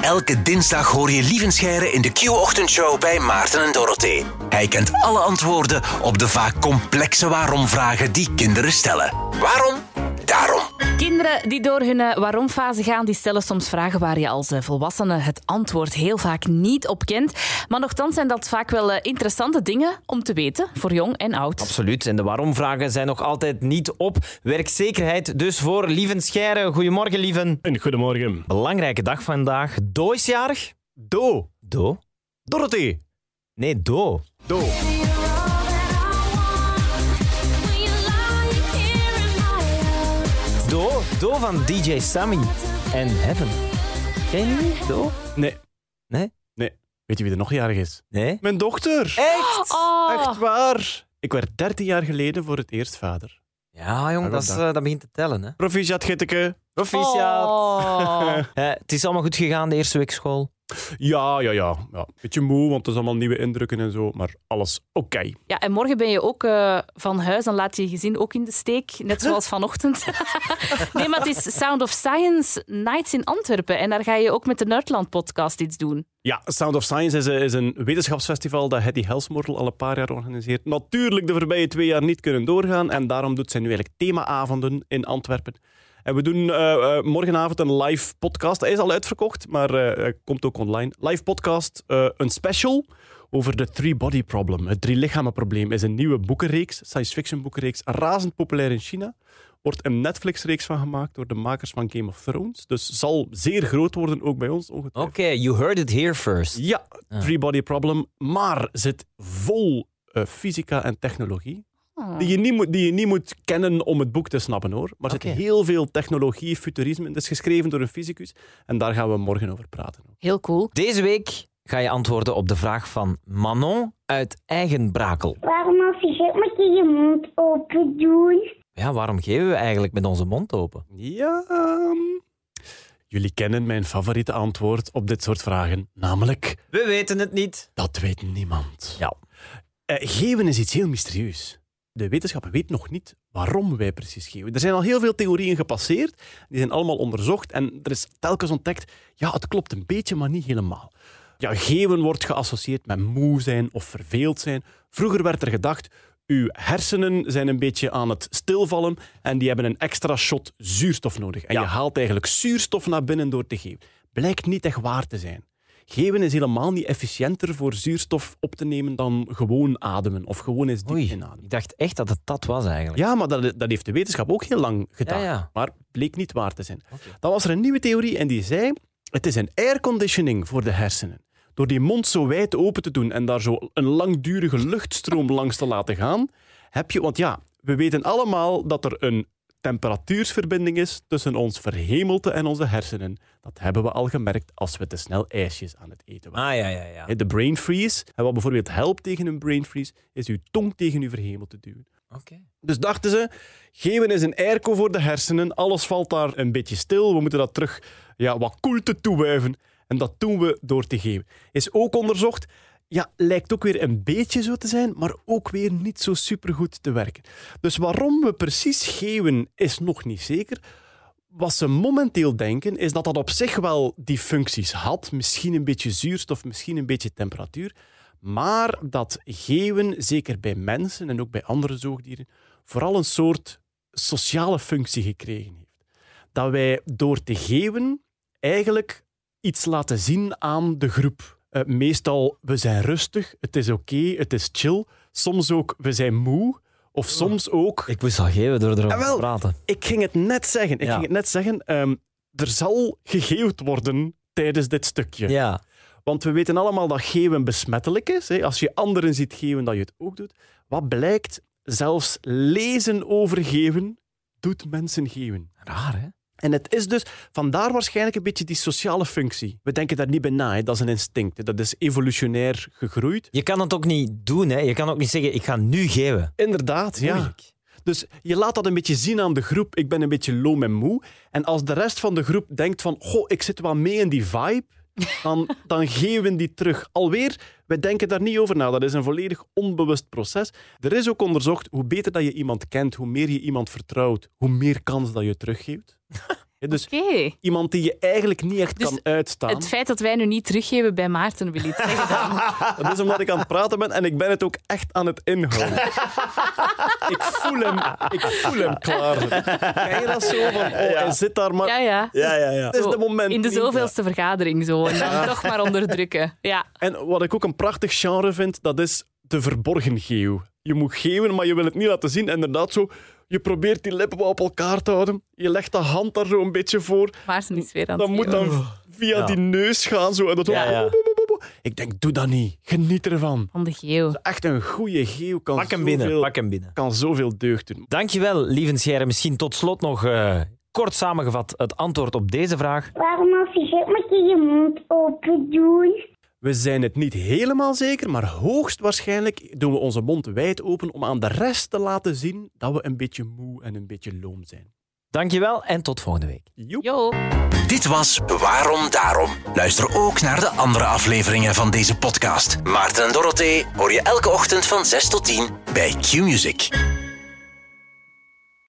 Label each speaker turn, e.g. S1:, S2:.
S1: Elke dinsdag hoor je Lievenscheiren in de Q-ochtendshow bij Maarten en Dorothee. Hij kent alle antwoorden op de vaak complexe waarom-vragen die kinderen stellen. Waarom? Daarom.
S2: Kinderen die door hun eh, waarom-fase gaan, die stellen soms vragen waar je als eh, volwassene het antwoord heel vaak niet op kent. Maar nochtans zijn dat vaak wel eh, interessante dingen om te weten voor jong en oud.
S3: Absoluut. En de waarom-vragen zijn nog altijd niet op. Werkzekerheid dus voor Lieven Scheire. Goedemorgen, Lieven.
S4: Een goedemorgen.
S3: Belangrijke dag vandaag. Do is jarig.
S4: Do.
S3: Do?
S4: Dorothy.
S3: Nee, Do.
S4: Do.
S3: Do. Do van DJ Sammy en Heaven. Ken je die? Do?
S4: Nee.
S3: Nee?
S4: Nee. Weet je wie er nog jarig is?
S3: Nee.
S4: Mijn dochter.
S3: Echt?
S4: Echt waar. Ik werd 13 jaar geleden voor het eerst vader.
S3: Ja, jong, dat, is, eh, dat begint te tellen. Hè.
S4: Proficiat Gitteke.
S3: Proficiat.
S2: Oh.
S3: Eh, het is allemaal goed gegaan, de eerste week school.
S4: Ja, ja, ja, ja. Beetje moe, want het is allemaal nieuwe indrukken en zo. Maar alles oké.
S2: Ja, en morgen ben je ook eh, van huis en laat je je gezin ook in de steek, net zoals vanochtend. nee, maar het is Sound of Science Nights in Antwerpen en daar ga je ook met de Nerdland podcast iets doen.
S4: Ja, Sound of Science is, eh, is een wetenschapsfestival dat Hedy Helsmoortel al een paar jaar organiseert. Natuurlijk de voorbije twee jaar niet kunnen doorgaan. En daarom doet zij nu eigenlijk themaavonden in Antwerpen. En we doen eh, eh, morgenavond een live podcast. Hij is al uitverkocht, maar eh, hij komt ook online. Live podcast, eh, een special over de Three Body Problem. Het drie lichamen probleem is een nieuwe boekenreeks, science fiction boekenreeks, razend populair in China. Wordt een Netflix-reeks van gemaakt door de makers van Game of Thrones. Dus zal zeer groot worden, ook bij ons ongetwijfeld.
S3: Oké, you heard it here first.
S4: Ja, Three Body Problem, maar zit vol eh, fysica en technologie.
S2: Oh.
S4: Die je, niet moet, die je niet moet kennen om het boek te snappen hoor. Maar er
S3: Oké.
S4: zit heel veel technologie, futurisme. in. Het is geschreven door een fysicus. En daar gaan we morgen over praten.
S2: Heel cool.
S3: Deze week ga je antwoorden op de vraag van Manon uit eigen brakel.
S5: Waarom als je gek moet je je mond open doen?
S3: Ja, waarom geven we eigenlijk met onze mond open?
S4: Ja. ehm, Jullie kennen mijn favoriete antwoord op dit soort vragen. Namelijk,
S3: We weten het niet.
S4: dat weet niemand.
S3: Ja.
S4: Eh, geven is iets heel mysterieus. De wetenschap weet nog niet waarom wij precies geven. Er zijn al heel veel theorieën gepasseerd, die zijn allemaal onderzocht en er is telkens ontdekt, ja, het klopt een beetje, maar niet helemaal. Ja, geven wordt geassocieerd met moe zijn of verveeld zijn. Vroeger werd er gedacht, uw hersenen zijn een beetje aan het stilvallen en die hebben een extra shot zuurstof nodig. En je haalt eigenlijk zuurstof naar binnen door te geven. Blijkt niet echt waar te zijn. Geven is helemaal niet efficiënter voor zuurstof op te nemen dan gewoon ademen of gewoon eens diep
S3: Oei,
S4: inademen.
S3: ik dacht echt dat het dat was eigenlijk.
S4: Ja, maar dat, dat heeft de wetenschap ook heel lang gedaan.
S3: Ja, ja.
S4: Maar bleek niet waar te zijn. Dan was er een nieuwe theorie en die zei: het is een airconditioning voor de hersenen. Door die mond zo wijd open te doen en daar zo een langdurige luchtstroom langs te laten gaan, heb je. Want ja, we weten allemaal dat er een temperatuursverbinding is tussen ons verhemelte en onze hersenen. Dat hebben we al gemerkt als we te snel ijsjes aan het eten waren.
S3: Ah, ja, ja, ja.
S4: Hè, De brain freeze. En wat bijvoorbeeld helpt tegen een brain freeze, is uw tong tegen uw verhemelte duwen.
S3: Oké.
S4: Dus dachten ze, geven is een airco voor de hersenen. Alles valt daar een beetje stil. We moeten dat terug ja, wat koelte toewuiven. En dat doen we door te geven. Is ook onderzocht. Ja, lijkt ook weer een beetje zo te zijn, maar ook weer niet zo supergoed te werken. Dus waarom we precies geven, is nog niet zeker. Wat ze momenteel denken, is dat dat op zich wel die functies had. Misschien een beetje zuurstof, misschien een beetje temperatuur. Maar dat geven, zeker bij mensen en ook bij andere zoogdieren, vooral een soort sociale functie gekregen heeft. Dat wij door te geven eigenlijk iets laten zien aan de groep. Eh, meestal, we zijn rustig, het is oké, het is chill. Soms ook, we zijn moe. Of soms ook,
S3: Ik moest al geven door erover
S4: Ah, wel.
S3: te praten.
S4: ik ging het net zeggen. Ik
S3: Ja.
S4: ging het net zeggen. ehm, er zal gegeeuwd worden tijdens dit stukje.
S3: Ja.
S4: Want we weten allemaal dat geven besmettelijk is. Hè? Als je anderen ziet geven, dat je het ook doet. Wat blijkt? Zelfs lezen over geven doet mensen geven.
S3: Raar, hè?
S4: En het is dus vandaar waarschijnlijk een beetje die sociale functie. We denken daar niet bij na. Hè? Dat is een instinct. hè. Dat is evolutionair gegroeid.
S3: Je kan het ook niet doen, hè? Je kan ook niet zeggen, ik ga nu geven.
S4: Inderdaad, ja.
S3: Moeilijk.
S4: Dus je laat dat een beetje zien aan de groep. Ik ben een beetje loom en moe. En als de rest van de groep denkt van... Goh, ik zit wel mee in die vibe. Dan, dan geven die terug. Alweer, we denken daar niet over na. Dat is een volledig onbewust proces. Er is ook onderzocht, hoe beter dat je iemand kent, hoe meer je iemand vertrouwt, hoe meer kans dat je teruggeeft. Ja, dus
S2: Oké.
S4: iemand die je eigenlijk niet echt
S2: Dus
S4: kan uitstaan.
S2: Het feit dat wij nu niet teruggeven bij Maarten wil iets zeggen. dan.
S4: Dat is dus omdat ik aan het praten ben en ik ben het ook echt aan het inhouden. ik, voel hem, ik voel hem klaar. Ken je dat zo? Van, oh, hij zit daar maar...
S2: Ja, ja.
S6: Ja, ja, ja.
S4: Het is
S2: Zo,
S4: de moment
S2: In de
S4: niet.
S2: zoveelste vergadering zo. En dan toch maar onderdrukken. Ja.
S4: En wat ik ook een prachtig genre vind, dat is de verborgen geeuw. Je moet geeuwen, maar je wil het niet laten zien. En inderdaad zo, je probeert die lippen wel op elkaar te houden. Je legt de hand daar zo een beetje voor.
S2: Maarten is weer aan het
S4: Dat moet
S2: geven.
S4: dan via die neus gaan. Zo, en dat
S6: Ja, ja.
S4: Ik denk, doe dat niet. Geniet ervan.
S2: Van de geeuw.
S4: Echt een goede geeuw kan,
S3: Pak hem
S4: zoveel,
S3: binnen, pak hem binnen.
S4: kan zoveel deugd doen.
S3: Dankjewel, lieve Sjerre. Misschien tot slot nog eh, kort samengevat het antwoord op deze vraag.
S5: Waarom officieel moet je je mond open doen?
S4: We zijn het niet helemaal zeker, maar hoogstwaarschijnlijk doen we onze mond wijd open om aan de rest te laten zien dat we een beetje moe en een beetje loom zijn.
S3: Dankjewel en tot volgende week.
S4: Joep.
S2: Jo.
S1: Dit was Waarom Daarom. Luister ook naar de andere afleveringen van deze podcast. Maarten en Dorothee hoor je elke ochtend van 6 tot 10 bij Q-Music.